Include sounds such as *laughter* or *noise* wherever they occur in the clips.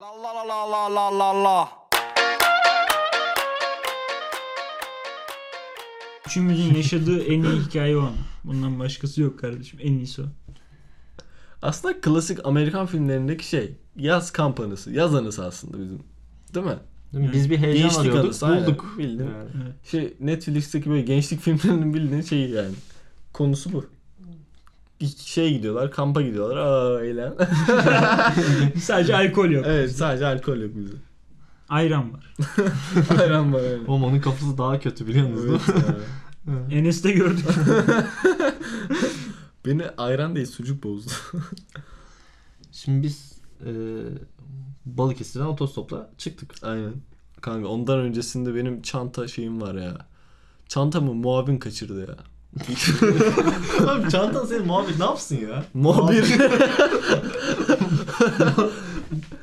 La la la la la la la. Üçümüzün yaşadığı en iyi hikaye o an. Bundan başkası yok kardeşim. En iyisi o. Aslında klasik Amerikan filmlerindeki şey. Yaz kamp anısı. Yaz anısı aslında bizim. Değil mi? Değil mi? Biz bir heyecan Gençlik arıyorduk. anısı, aynen. Bulduk. Bildim. Yani. Şey Netflix'teki böyle gençlik *laughs* filmlerinin bildiğin şeyi yani. Konusu bu. İlk Şey gidiyorlar, kampa gidiyorlar. Aa *laughs* eğlen. Sadece alkol yok. evet sadece alkol yok *laughs* bizde. Ayran var. Ayran var öyle. Oğlum onun kafası daha kötü biliyorsunuz değil mi? Evet ya. Enes'te *laughs* gördük. Beni ayran değil sucuk bozdu. Şimdi biz e, Balıkesir'den otostopla *laughs* *laughs* çıktık. Aynen. Kanka ondan öncesinde benim çanta şeyim var ya. Çantamı muavin kaçırdı *laughs* ya. Abi çantan senin muhabbet ne yapsın ya? *laughs* Muhabir.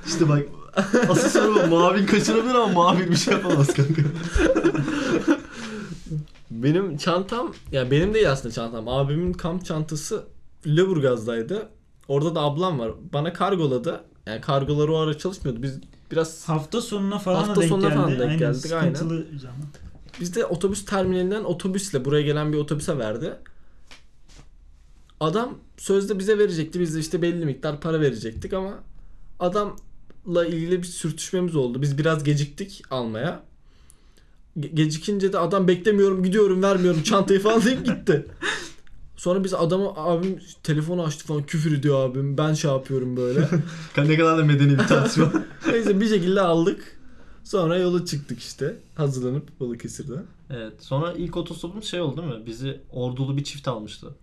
İşte bak asıl soru bu. Muhabir kaçırabilir ama muhabir bir şey yapamaz kanka. benim çantam ya benim değil aslında çantam. Abimin kamp çantası Lüleburgaz'daydı. Orada da ablam var. Bana kargoladı. Yani kargoları o ara çalışmıyordu. Biz biraz Hafta sonuna falan Hafta da denk sonuna geldi. falan denk aynen, geldik, aynen. sıkıntılı zaman. Biz de otobüs terminalinden otobüsle buraya gelen bir otobüse verdi. Adam sözde bize verecekti. Biz de işte belli miktar para verecektik ama adamla ilgili bir sürtüşmemiz oldu. Biz biraz geciktik almaya. Ge- gecikince de adam beklemiyorum gidiyorum vermiyorum çantayı falan deyip gitti. *laughs* Sonra biz adamı abim telefonu açtı falan küfür ediyor abim ben şey yapıyorum böyle. Ne kadar da medeni bir tartışma. Neyse bir şekilde aldık. Sonra yola çıktık işte hazırlanıp Balıkesir'den. *laughs* evet sonra ilk otostopumuz şey oldu değil mi? Bizi ordulu bir çift almıştı.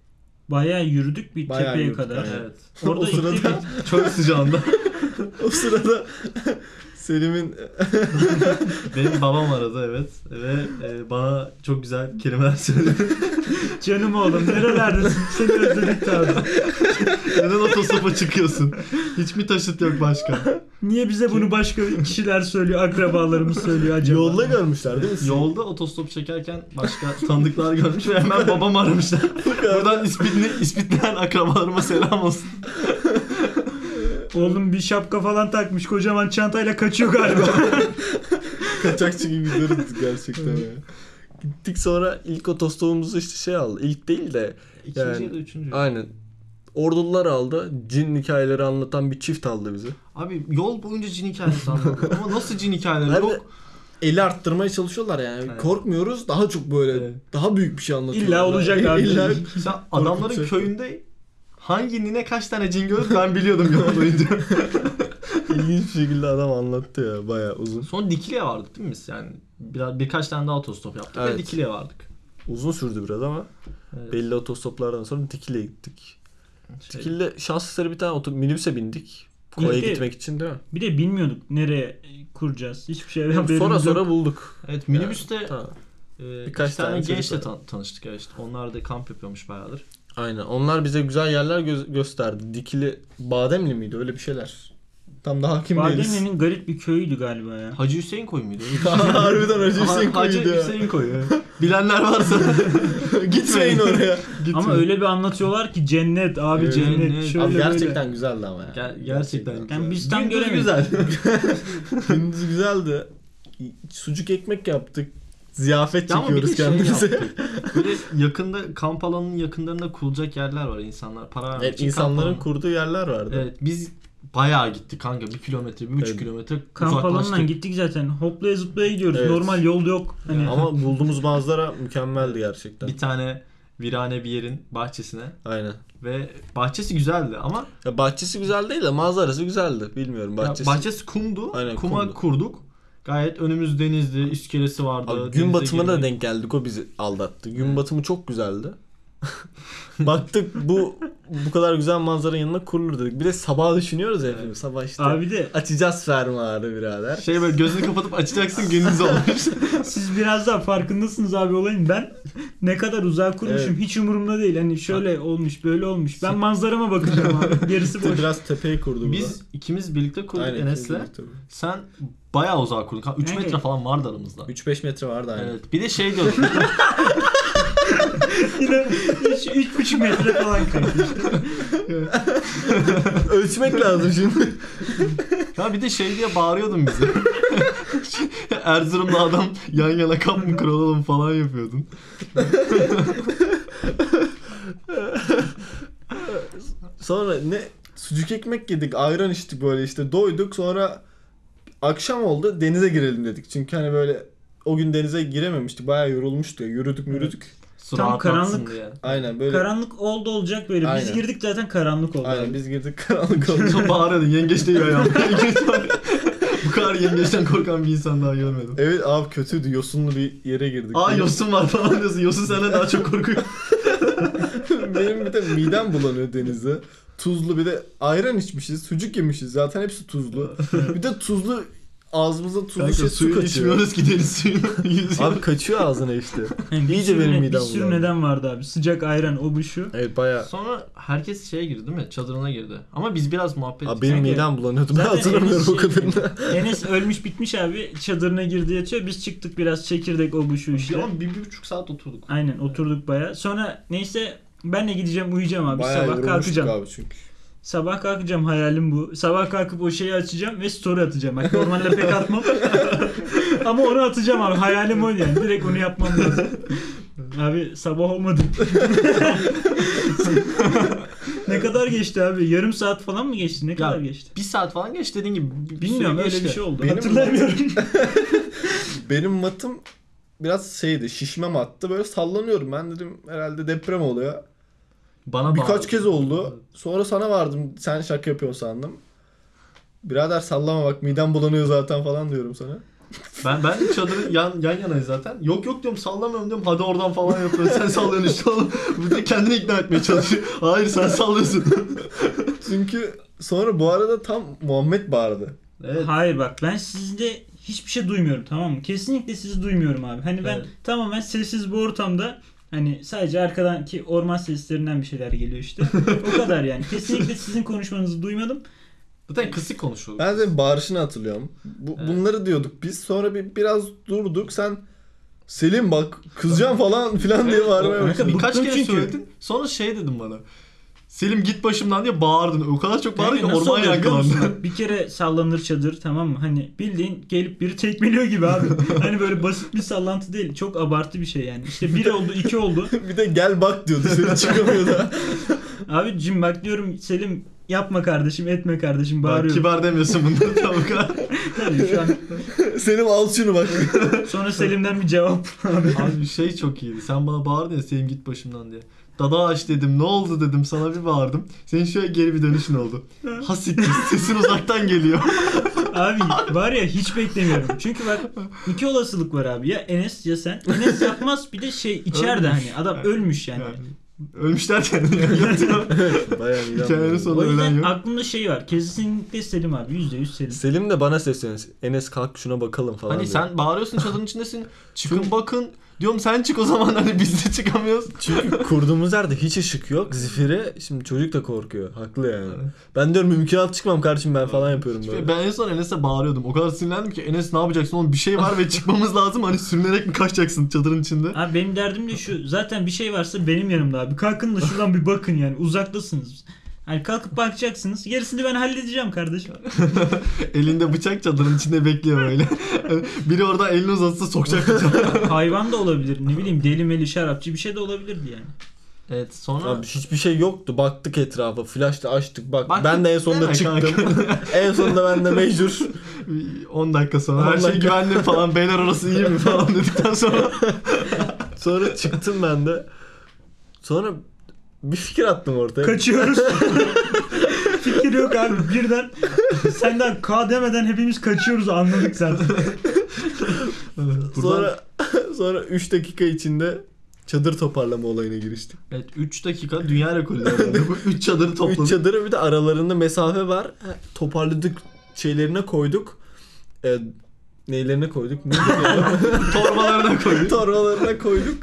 Bayağı yürüdük bir Bayağı tepeye yürüdük, kadar. aynen. Evet. *laughs* Orada O sırada- ittik, Çok sıcağında. O sırada Selim'in *laughs* Benim babam aradı evet. Ve e, bana çok güzel kelimeler söyledi. Canım oğlum *laughs* nerelerdesin? Seni özledik abi. Neden otostopa çıkıyorsun? Hiç mi taşıt yok başka? Niye bize bunu başka kişiler söylüyor, akrabalarımız söylüyor acaba? yolda görmüşler değil mi? Yolda otostop çekerken başka tanıdıklar görmüş ve hemen *laughs* babam aramışlar. Buradan ispitli, ispitleyen akrabalarıma selam olsun. Oğlum bir şapka falan takmış kocaman çantayla kaçıyor galiba. *laughs* Kaçakçı gibi gidiyoruz gerçekten ya. Gittik sonra ilk otostopumuzu işte şey aldı. İlk değil de İkinci Yani- ya da üçüncü. aynen. Ordulular aldı. Cin hikayeleri anlatan bir çift aldı bizi. Abi yol boyunca cin hikayesi anlattım. Ama nasıl cin hikayeleri Nerede? yok? Eli arttırmaya çalışıyorlar yani. Evet. Korkmuyoruz. Daha çok böyle Evet. daha büyük bir şey anlatıyorlar. İlla olacak abi. *laughs* İlla Sen adamların Korkutucu. köyünde hangi nine kaç tane cin görür ben biliyordum *laughs* yol boyunca. ilginç bir şekilde adam anlattı ya bayağı uzun. Son Dikili'ye vardık değil mi biz? Yani biraz birkaç tane daha otostop yaptık ve Evet. Dikili'ye vardık. Uzun sürdü biraz ama Evet. belli otostoplardan sonra Dikili'ye gittik. Şey- Dikili'de şanslıları bir tane otob- minibüse bindik. Koya Gitti. gitmek için değil mi? bir de bilmiyorduk nereye kuracağız. Hiçbir şey haberimiz sonra yok. sonra bulduk. Evet minibüste Tamam. e, Birkaç iki tane, tane çocuk gençle var. tan- tanıştık ya işte. Onlar da kamp yapıyormuş bayağıdır. Aynen. Onlar bize güzel yerler gö- gösterdi. Dikili Bademli miydi? Öyle bir şeyler. Tam da hakim değiliz. Bademli'nin garip bir köyüydü galiba ya. Hacı Hüseyin koyu muydu? *laughs* Harbiden Hacı Hüseyin Ha- Hacı şey- koyuydu ya. Hüseyin koyu. Bilenler varsa *laughs* Gitmeyin oraya. Ama öyle öyle bir anlatıyorlar ki cennet abi Evet. cennet. Cennet. Şöyle Abi böyle. gerçekten güzeldi ama ya. Ger- gerçekten. Yani biz tam Gündüz göremedik. güzel. Gündüz güzeldi. Sucuk ekmek yaptık. Ziyafet Ya ama bir de çekiyoruz şey kendimize. Böyle yakında kamp alanının yakınlarında kurulacak yerler var insanlar. Para *laughs* vermek evet, için insanların kamp kurduğu yerler vardı. alanı. Evet biz bayağı gittik kanka. Bir kilometre, bir buçuk Evet. kilometre Kamp alanından uzaklaştık. gittik zaten. Hoplaya zıplaya gidiyoruz. Evet. Normal yol yok. Hani *laughs* Ama bulduğumuz manzara mükemmeldi gerçekten. Bir tane virane bir yerin bahçesine Aynen. ve bahçesi güzeldi ama Ya bahçesi güzel değil de manzarası güzeldi. Bilmiyorum bahçesi, bahçesi. bahçesi kumdu. Aynen, Kuma kumdu. kurduk. Gayet önümüz denizdi, iskelesi vardı. Abi denize gün batımına da girdik. denk geldik o bizi aldattı. Gün batımı çok güzeldi. Baktık bu bu kadar güzel manzaranın yanına kurulur dedik. Bir de sabah düşünüyoruz ya hepimiz. Sabah işte abi de açacağız fermuarı birader. Şey böyle gözünü kapatıp açacaksın *laughs* gündüz olmuş. siz biraz daha farkındasınız abi olayın. Ben ne kadar uzak kurmuşum hiç umurumda değil. Hani şöyle olmuş böyle olmuş. Ben manzarama bakacağım *laughs* abi. Gerisi boş. İşte biraz tepeye kurdu Biz ikimiz birlikte kurduk Enes'le. Sen bayağı uzağa kurduk. 3 Yani- metre falan vardı aramızda. 3-5 metre vardı aynı. Evet. Bir de şey diyorduk. *laughs* Yine üç- üç buçuk metre falan kaydı. *laughs* Ölçmek lazım şimdi. *laughs* Ya bir de şey diye bağırıyordun bize. *laughs* Erzurumlu adam yan yana kap mı kıralım falan yapıyordun. Sonra ne sucuk ekmek yedik, ayran içtik böyle işte doyduk. Sonra akşam oldu denize girelim dedik. Çünkü hani böyle o gün denize girememiştik. Bayağı yorulmuştu. ya. Yürüdük yürüdük. Su Tam rahat atsın karanlık. diye. Aynen böyle. Karanlık oldu olacak böyle. Aynen. Biz girdik zaten karanlık oldu. Aynen biz girdik *laughs* karanlık oldu. Sonra bağırıyordun yengeç *laughs* değil ayağım. Yengeç var. Bu kadar yengeçten korkan bir insan daha görmedim. evet abi kötüydü. Yosunlu bir yere girdik. Aa Benim- yosun var falan diyorsun. Yosun senden daha çok korkuyor. *laughs* Benim bir de midem bulanıyor denize. Tuzlu bir de ayran içmişiz, sucuk yemişiz. Zaten hepsi tuzlu. bir de tuzlu ağzımıza tuzlu Kanka şey su suyu kaçıyor. içmiyoruz ki deniz suyunu. Abi Yüzüyor. kaçıyor ağzına işte. Yani Hani bir İyice sürü, benim ne- midem Bir sürü bulandı. neden vardı abi. Sıcak ayran o bu şu. Evet bayağı. Sonra herkes şeye girdi değil mi? Çadırına girdi. Ama biz biraz muhabbet Abi benim Kanka, midem bulanıyordu. Ben zaten hatırlamıyorum o Enes şey- kadarını. Enes ölmüş bitmiş abi. Çadırına girdi yatıyor. Biz çıktık biraz çekirdek o bu şu işte. Ama bir, bir buçuk saat oturduk. Aynen oturduk baya. Sonra neyse ben de gideceğim uyuyacağım abi. Bayağı Sabah yorulmuştuk kalkacağım. abi çünkü. Sabah kalkacağım hayalim bu. Sabah kalkıp o şeyi açacağım ve story atacağım. Bak normalde pek atmam. *laughs* Ama onu atacağım abi. Hayalim o yani. Direkt onu yapmam lazım. Abi sabah olmadı. *laughs* ne kadar geçti abi? Yarım saat falan mı geçti? Ne kadar geçti? Bir saat falan geç dediğin gibi. bir- Bilmiyorum süre öyle bir geçti. şey oldu. Benim- Hatırlamıyorum. Benim matım biraz şeydi şişme mattı böyle sallanıyorum ben dedim herhalde deprem oluyor. Bana Birkaç bağırdı. kez oldu. Sonra sana vardım sen şaka yapıyorsun sandım. Birader sallama bak midem bulanıyor zaten falan diyorum sana. Ben ben çadırın yan, yan yanayız zaten. Yok yok diyorum sallamıyorum diyorum. Hadi oradan falan yapıyorsun. Sen sallıyorsun işte oğlum. Bu da kendini ikna etmeye çalışıyor. Hayır sen sallıyorsun. Çünkü sonra bu arada tam Muhammed bağırdı. evet. Hayır bak ben sizde hiçbir şey duymuyorum tamam mı? Kesinlikle sizi duymuyorum abi. Hani ben Evet. tamamen sessiz bu ortamda hani sadece arkadaki orman seslerinden bir şeyler geliyor işte. o kadar yani. Kesinlikle sizin konuşmanızı duymadım. Zaten kısık konuşuyoruz. Ben senin bağırışını hatırlıyorum. Bu, Evet. Bunları diyorduk biz. Sonra bir biraz durduk. Sen Selim bak kızacağım falan filan diye bağırmaya o- başladın. Kanka, Birkaç bıktım kere çünkü. söyledin. Sonra şey dedim bana. Selim git başımdan diye bağırdın. O kadar çok bağırdın ki Yani nasıl orman oluyor biliyor musun? yankılandı. Bak, bir kere sallanır çadır tamam mı? Hani bildiğin gelip biri tekmeliyor gibi abi. hani böyle basit bir sallantı değil. Çok abartı bir şey yani. İşte bir oldu iki oldu. bir de gel bak diyordu. *laughs* Seni çıkamıyor da. Abi cim bak diyorum Selim yapma kardeşim etme kardeşim Bak, bağırıyorum. kibar demiyorsun bunları *laughs* tam o kadar. Tabii şu an. Selim al şunu bak. Sonra Selim'den bir cevap. Abi şey çok iyiydi. Sen bana bağırdın ya Selim git başımdan diye. Dada aç dedim. Ne oldu dedim. Sana bir bağırdım. Senin şöyle geri bir dönüşün oldu. *laughs* Ha siktir. Sesin uzaktan geliyor. Abi var ya hiç beklemiyorum. Çünkü bak iki olasılık var abi. Ya Enes ya sen. Enes yapmaz bir de şey içeride Ölmüş. hani adam ölmüş yani. Yani ölmüş derken *laughs* yatıyor. Bayağı midem Hikayenin bulanıyor. sonu. O ölen yüzden yok. aklımda şey var. Kesinlikle Selim abi. Yüzde yüz Selim. Selim de bana sesleniyor. Enes kalk şuna bakalım falan. hani diyor. sen bağırıyorsun çadırın içindesin. Çıkın bakın. Diyorum sen çık o zaman hani biz de çıkamıyoruz. *laughs* Çünkü kurduğumuz yerde hiç ışık yok. Zifiri şimdi çocuk da korkuyor. Haklı yani. Ben diyorum mümkünat çıkmam kardeşim ben falan yapıyorum böyle. Ben en son Enes'e bağırıyordum. O kadar sinirlendim ki Enes ne yapacaksın oğlum bir şey var ve çıkmamız *laughs* lazım. Hani sürünerek mi kaçacaksın çadırın içinde? Abi benim derdim de şu. Zaten bir şey varsa benim yanımda abi. Kalkın da şuradan bir bakın yani. Uzaktasınız. Hani kalkıp bakacaksınız. Gerisini ben halledeceğim kardeşim. Elinde bıçak çadırın içinde bekliyor böyle. *laughs* Biri oradan elini uzatsa sokacak bıçağı. Hayvan da olabilir. Ne bileyim deli meli şarapçı bir şey de olabilirdi yani. *laughs* Evet sonra... Abi hiçbir şey yoktu. Baktık etrafa. Flash'ta açtık bak. Baktık ben de en sonunda deme çıktım. *laughs* en sonunda ben de mecbur. 10 dakika sonra 10 her şey dakika. güvenli falan beyler orası iyi mi falan dedikten *laughs* sonra Sonra çıktım ben de. Sonra bir fikir attım ortaya. *laughs* Kaçıyoruz. Fikir yok abi. Birden senden K demeden hepimiz kaçıyoruz anladık zaten. Sonra *laughs* sonra 3 dakika içinde çadır toparlama olayına giriştik. evet 3 dakika dünya rekoru *laughs* herhalde. bu 3 çadırı 3 topladık. çadırı bir de aralarında mesafe var. Ha, Toparladık şeylerine koyduk. E, neylerine koyduk? Ne deniyor? Torbalarına koyduk. Torbalarına koyduk.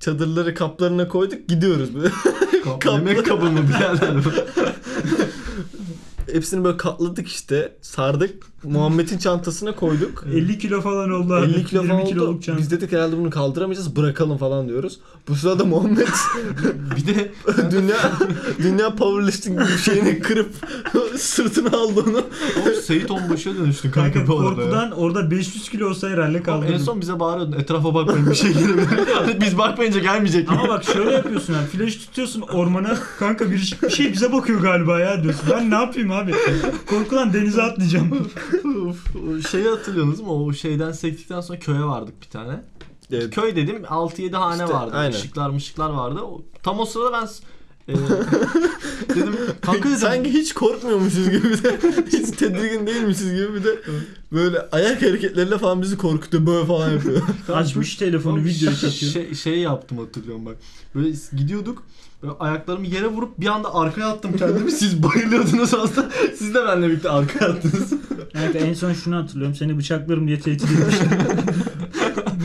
Çadırları kaplarına koyduk. Gidiyoruz. *laughs* Yemek kabı mı birader bu? E, *laughs* hepsini böyle katladık işte. Sardık. Muhammed'in çantasına koyduk. 50 kilo falan oldu abi. 50 kilo 20 falan oldu. kiloluk çanta. Biz dedik herhalde bunu kaldıramayacağız. Bırakalım falan diyoruz. Bu sırada Muhammed *laughs* Bir de dünya dünya powerlifting şeyini kırıp *laughs* sırtına aldı onu. oğlum Seyit Onbaşı'ya dönüştün Kanka kanka bu arada. ya. korkudan orada 500 kilo olsa herhalde Oğlum En kaldırdım. son bize bağırıyordun etrafa bakmayın bir şey gelebilir. Biz bakmayınca gelmeyecek mi? Ama bak şöyle yapıyorsun abi. Flash tutuyorsun ormana. Kanka bir, şey- bir şey bize bakıyor galiba ya diyorsun. Ben ne yapayım abi? Korkudan denize atlayacağım. Uf, o şeyi hatırlıyorsunuz mu? O şeyden sektikten sonra köye vardık bir tane. Evet. Köy dedim 6-7 hane İşte, vardı. aynen. Işıklar mışıklar vardı. O- Tam o sırada ben s- e, dedim kanka dedim. Sanki hiç korkmuyormuşuz gibi bir *laughs* de hiç tedirgin değilmişiz gibi bir de böyle ayak hareketleriyle falan bizi korkutuyor böyle falan *laughs* yapıyor. Açmış telefonu Oğlum, videoyu şey- çekiyor. Şey, şey yaptım hatırlıyorum bak. Böyle gidiyorduk. Böyle ayaklarımı yere vurup bir anda arkaya attım kendimi. Siz bayılıyordunuz aslında. *laughs* Siz de benimle birlikte arkaya attınız. Kanka en son şunu hatırlıyorum. Seni bıçaklarım diye tehdit *laughs* etmiştim.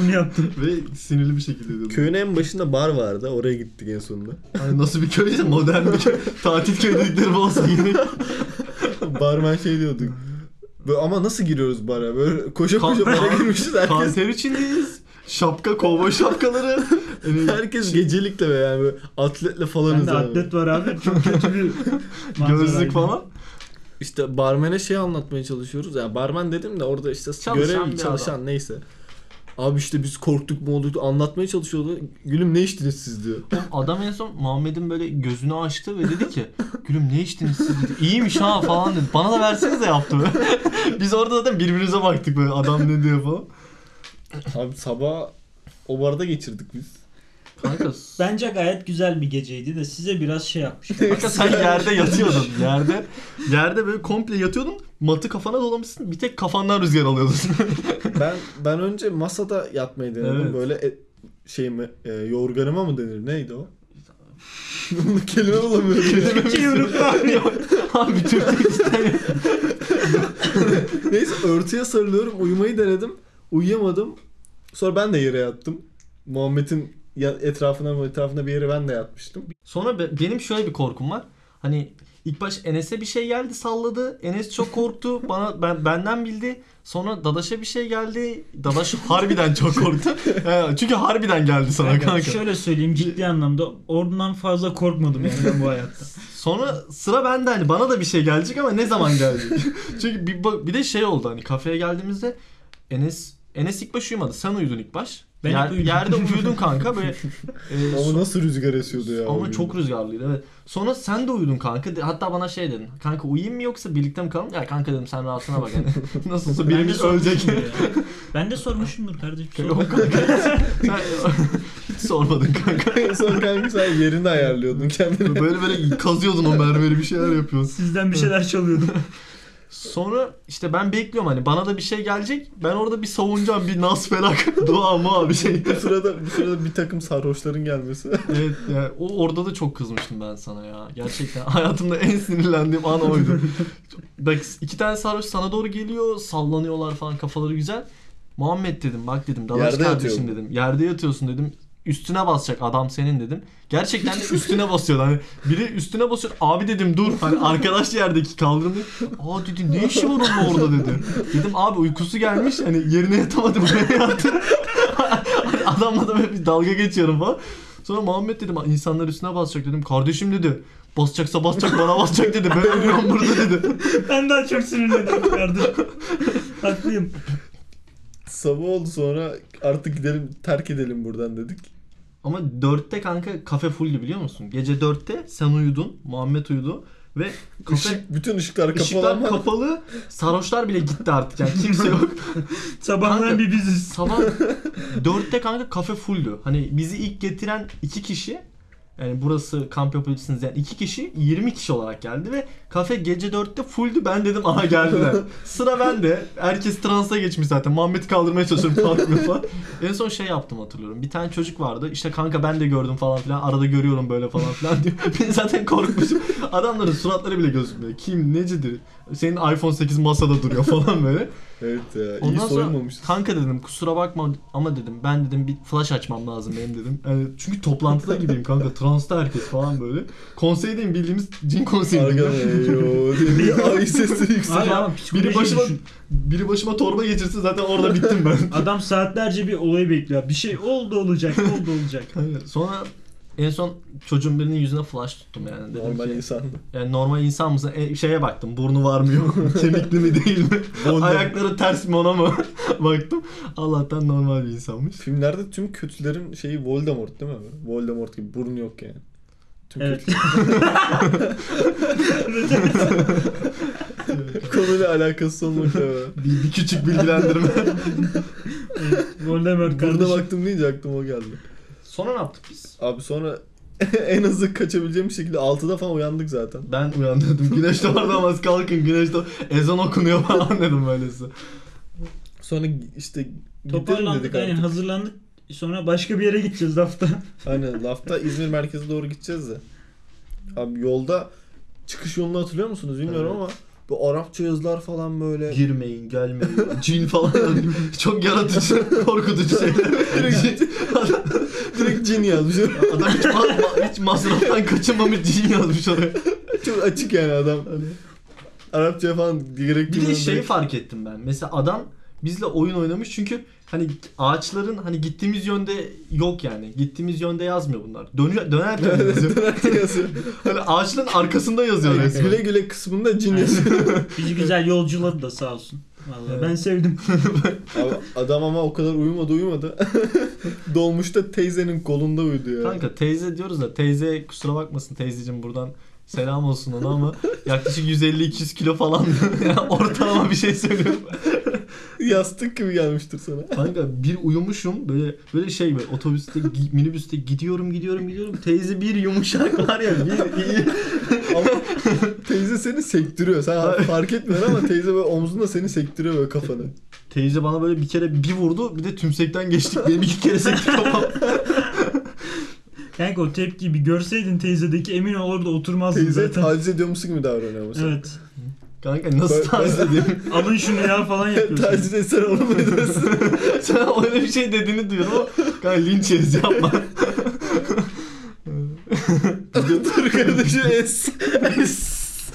Bunu yaptım. Ve sinirli bir şekilde diyordum. Köyün en başında bar vardı oraya gittik en sonunda. *laughs* Hani nasıl bir köy ise modern bir *laughs* köy. Tatil köyü dedikleri bu olsa yine. Barman şey diyorduk. Böyle ama nasıl giriyoruz bara? Böyle koşa koşa Kan- bara *laughs* girmişiz herkes. Kanser içindeyiz. Şapka, kovboy şapkaları. Hani Yani Herkes gecelikle ve yani böyle atletle falanız Bende abi. atlet var abi. Çok kötü *laughs* bir manzaraydı. gözlük falan. İşte barmene şey anlatmaya çalışıyoruz. Ya barmen dedim de orada işte Çalışan görev bir çalışan adam. neyse. Abi işte biz korktuk mu olduk anlatmaya çalışıyordu. Gülüm ne içtiniz siz diyor. Adam en son Muhammed'in böyle gözünü açtı ve dedi ki Gülüm ne içtiniz siz dedi. İyiymiş ha falan dedi. Bana da verseniz de yaptı. *laughs* böyle. Biz orada zaten birbirimize baktık böyle adam ne diyor falan. Abi sabah o barda geçirdik biz. Kanka, Bence gayet güzel bir geceydi de size biraz şey yapmış. kanka *laughs* sen yerde yatıyordun. Yerde yerde böyle komple yatıyordun. Matı kafana dolamışsın. Bir tek kafandan rüzgar *laughs* alıyordun. Ben ben önce masada yatmayı denedim. Evet. Böyle e, şey mi e, yorganıma mı denir neydi o? Bunu kelime *laughs* bulamıyorum. ya. Hiç unutma abi. Abi Türkçe işte. Neyse örtüye sarılıyorum uyumayı denedim. Uyuyamadım. Sonra ben de yere yattım. Muhammed'in ya- etrafına etrafına bir yere ben de yatmıştım. Sonra be- benim şöyle bir korkum var. Hani ilk baş Enes'e bir şey geldi salladı. Enes *laughs* çok korktu. Bana ben benden bildi. Sonra Dadaş'a bir şey geldi. Dadaş harbiden çok *laughs* korktu. He, Çünkü harbiden geldi sana Kanka, kanka. Şöyle söyleyeyim ciddi anlamda oradan fazla korkmadım yani ben bu *laughs* hayatta. Sonra sıra bende hani bana da bir şey gelecek ama ne zaman *laughs* gelecek? Çünkü bir, bak- bir de şey oldu hani kafeye geldiğimizde Enes Enes ilk baş uyumadı. Sen uyudun ilk baş. Ben Yer- hep uyudum. Yerde uyudun *laughs* kanka böyle. e, Ama nasıl rüzgar esiyordu ya. o Ama gün. çok rüzgarlıydı evet. Sonra sen de uyudun kanka. De- Hatta bana şey dedin. Kanka uyuyayım mı yoksa birlikte mi kalalım? Ya kanka dedim sen *laughs* rahatına bak. Yani. Nasıl olsa Ben de birimiz *laughs* ölecek. sormuşumdur *laughs* ya. Ben de sormuşumdur kardeşim. sorma. Yok kanka. Sen *laughs* hiç sormadın *laughs* kanka. Sonra kanka sen yerini ayarlıyordun *laughs* kendini. Böyle böyle kazıyordun o mermeri bir şeyler yapıyorsun. Sizden bir şeyler *laughs* çalıyordum. Sonra işte ben bekliyorum hani bana da bir şey gelecek. Ben orada bir savunacağım bir nas felak *laughs* dua mua bir şey. bu sırada bu sırada bir takım sarhoşların gelmesi. Evet yani o orada da çok kızmıştım ben sana ya. Gerçekten *laughs* hayatımda en sinirlendiğim an oydu. Bak iki tane sarhoş sana doğru geliyor, sallanıyorlar falan kafaları güzel. Muhammed dedim bak dedim dalaş Yerde kardeşim yatıyorum. dedim. Yerde yatıyorsun dedim. Üstüne basacak adam senin dedim. Gerçekten de üstüne basıyor. Hani biri üstüne basıyor. Abi dedim dur. Hani arkadaş yerdeki kaldırımda. Aa dedi ne işi var onun orada dedi. Dedim abi uykusu gelmiş. Hani yerine yatamadı buraya *laughs* yattı. Adamla da böyle bir dalga geçiyorum falan. Sonra Muhammed dedim insanlar üstüne basacak dedim. Kardeşim dedi. Basacaksa basacak bana basacak dedi. Ben ölüyorum burada dedi. *laughs* ben daha çok sinirlendim kardeşim. Haklıyım. Sabah oldu sonra artık gidelim terk edelim buradan dedik. Ama 4'te kanka kafe fulldü biliyor musun? Gece 4'te sen uyudun, Muhammed uyudu ve kafe Işık, bütün ışıklar kapalı ışıklar ama kapalı. Sarhoşlar bile gitti artık yani kimse yok. Kanka- Sabahlar bir biziz. Sabah 4'te kanka kafe fulldü. Hani bizi ilk getiren iki kişi yani burası kamp yapabilirsiniz yani iki kişi 20 kişi olarak geldi ve kafe gece 4'te fulldü ben dedim aha geldiler. Sıra bende. Herkes transa geçmiş zaten. Muhammed'i kaldırmaya çalışıyorum kalkmıyor falan. En son şey yaptım hatırlıyorum. Bir tane çocuk vardı. İşte kanka ben de gördüm falan filan. Arada görüyorum böyle falan filan diyor. *laughs* Ben zaten korkmuşum. Adamların suratları bile gözükmüyor. Kim necidir? Senin iPhone 8 masada duruyor falan böyle. Evet ya. iyi Ondan sonra soyulmamışız. kanka dedim kusura bakma ama dedim ben dedim bir flash açmam lazım benim dedim. Yani çünkü toplantıda gideyim kanka transta herkes falan böyle. Konseydeyim bildiğimiz cin konseyindeyim. Arkadan eyo *laughs* diye ay sesi Abi yükseliyor. ama biri psikolojiyi başıma düşün. biri başıma torba geçirse zaten orada bittim *laughs* ben. Adam saatlerce bir olayı bekliyor. Bir şey oldu olacak, oldu *laughs* olacak. Kanka, sonra en son çocuğun birinin yüzüne flash tuttum yani. Dedim Normal Şey- ki, insan. yani normal insan mısın? E, şeye baktım burnu var mı yok *laughs* mu? Kemikli mi değil mi? Bonda. Ayakları ters mi ona mı? *laughs* baktım. Allah'tan normal bir insanmış. Filmlerde tüm kötülerin şeyi Voldemort değil mi? abi? Voldemort gibi burun yok yani. Tüm *laughs* Evet. *laughs* *laughs* kötü. Konuyla alakası *laughs* olmakla beraber. Bir, bir küçük bilgilendirme. Voldemort Buruna kardeşim. baktım deyince aklıma o geldi. *laughs* Sonra ne yaptık biz? Abi sonra *laughs* en hızlı kaçabileceğim şekilde 6'da falan uyandık zaten. Ben uyandırdım. Güneş doğarlamaz kalkın güneş doğ... Ezan okunuyor falan dedim böylesi. Sonra işte gidelim Toparlandık dedik aynen artık. hazırlandık. Sonra başka bir yere gideceğiz hafta. *laughs* Aynen lafta İzmir merkeze doğru gideceğiz de. Abi yolda çıkış yolunu hatırlıyor musunuz bilmiyorum Evet. ama bu Arapça yazılar falan böyle. Girmeyin, gelmeyin. Cin falan. yazıyor. Çok yaratıcı, korkutucu *laughs* şeyler. Direkt, adam, Direkt cin *laughs* yazmış. adam hiç, ma- hiç masraftan kaçınmamış cin yazmış oraya. Çok açık yani adam. Hani Arapça falan direkt Bir de şey bilmiyorum, şeyi direkt- *laughs* fark ettim ben. Mesela adam bizle oyun oynamış çünkü hani ağaçların hani gittiğimiz yönde yok yani. Gittiğimiz yönde yazmıyor bunlar. Dönü, döner *laughs* döner yazıyor. Dönerken *laughs* yazıyor. Hani ağaçların arkasında yazıyor Yani resmen. güle güle kısmında cin yazıyor. Bizi güzel yolculadı da sağ olsun. Vallahi Evet. ben sevdim. *laughs* Abi adam ama o kadar uyumadı uyumadı. *laughs* Dolmuşta teyzenin kolunda uyudu ya. Kanka teyze diyoruz da teyze kusura bakmasın teyzeciğim buradan selam olsun ona *laughs* ama yaklaşık 150-200 kilo falan *laughs* yani ortalama bir şey söylüyorum. Yastık gibi gelmiştir sana. Kanka bir uyumuşum böyle böyle şey böyle otobüste gi- minibüste gidiyorum gidiyorum gidiyorum teyze bir yumuşak var ya bir iyi. Ama *laughs* teyze seni sektiriyor. Sen fark etmiyorsun ama teyze böyle omzunda seni sektiriyor böyle kafanı. Teyze bana böyle bir kere bir vurdu bir de tümsekten geçtik benim iki kere sekti kafam. Kanka o tepkiyi bir görseydin teyzedeki emin olurdu oturmazdın Teyze zaten. taciz ediyormuş gibi davranıyor ama sen. Evet. Kanka nasıl Ben- *laughs* taciz edeyim? Alın şunu ya *laughs* falan yapıyorsun. taciz etsen onu *laughs* mu edersin? Sen öyle bir şey dediğini duyuyorum ama kanka linç yeriz *laughs* yapma. Dur kardeşim es.